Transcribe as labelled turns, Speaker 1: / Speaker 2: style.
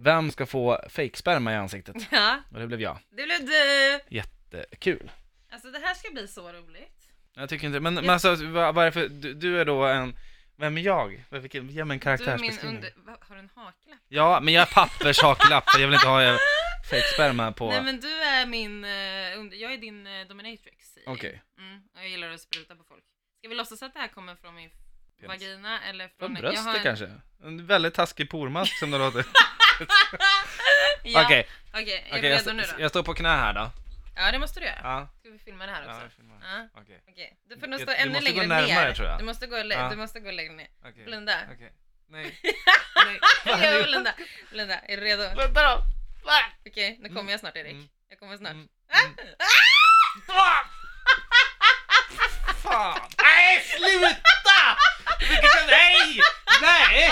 Speaker 1: Vem ska få fejksperma i ansiktet?
Speaker 2: Ja,
Speaker 1: Och det blev jag.
Speaker 2: det blev du!
Speaker 1: Jättekul.
Speaker 2: Alltså det här ska bli så roligt.
Speaker 1: Jag tycker inte, men, men alltså vad, vad är det för, du, du är då en, vem är jag? Vilken, ge mig en
Speaker 2: Du är min
Speaker 1: karaktärsbeskrivning.
Speaker 2: under... Va, har du en haklapp?
Speaker 1: Ja, men jag är pappershaklapp för jag vill inte ha eh, fejksperma på...
Speaker 2: Nej men du är min... eh, under... Jag är din eh, dominatrix. säger jag.
Speaker 1: Okej.
Speaker 2: Mm, och jag gillar att spruta på folk. Ska vi låtsas att det här kommer från min
Speaker 1: Penis.
Speaker 2: vagina eller från...
Speaker 1: Från
Speaker 2: jag
Speaker 1: bröstet
Speaker 2: har en-
Speaker 1: kanske? En väldigt taskig pormask som det låter.
Speaker 2: Ja,
Speaker 1: Okej,
Speaker 2: Okej, är
Speaker 1: okej,
Speaker 2: du
Speaker 1: jag,
Speaker 2: redo nu
Speaker 1: st-
Speaker 2: då?
Speaker 1: jag står på knä här då.
Speaker 2: Ja det måste du göra.
Speaker 1: Ja,
Speaker 2: Ska vi filma det här
Speaker 1: ja,
Speaker 2: också?
Speaker 1: jag filmar.
Speaker 2: Ja.
Speaker 1: Okej,
Speaker 2: Okej, du får nog
Speaker 1: Jag-
Speaker 2: stå
Speaker 1: du
Speaker 2: ännu
Speaker 1: måste
Speaker 2: längre
Speaker 1: gå närmare,
Speaker 2: ner.
Speaker 1: tror jag.
Speaker 2: Du måste gå, lä-
Speaker 1: Ja.
Speaker 2: du måste gå längre ner.
Speaker 1: okej,
Speaker 2: Blunda.
Speaker 1: okej. Nej, nej. Fan,
Speaker 2: Jo,
Speaker 1: det-
Speaker 2: blunda. blunda. Är du redo?
Speaker 1: Blunda då! Ah!
Speaker 2: Okej, nu kommer jag snart
Speaker 1: Mm.
Speaker 2: Erik. Jag kommer snart.
Speaker 1: Mm.
Speaker 2: Ah!
Speaker 1: Fan! Nej, sluta! Vilket, nej! Nej!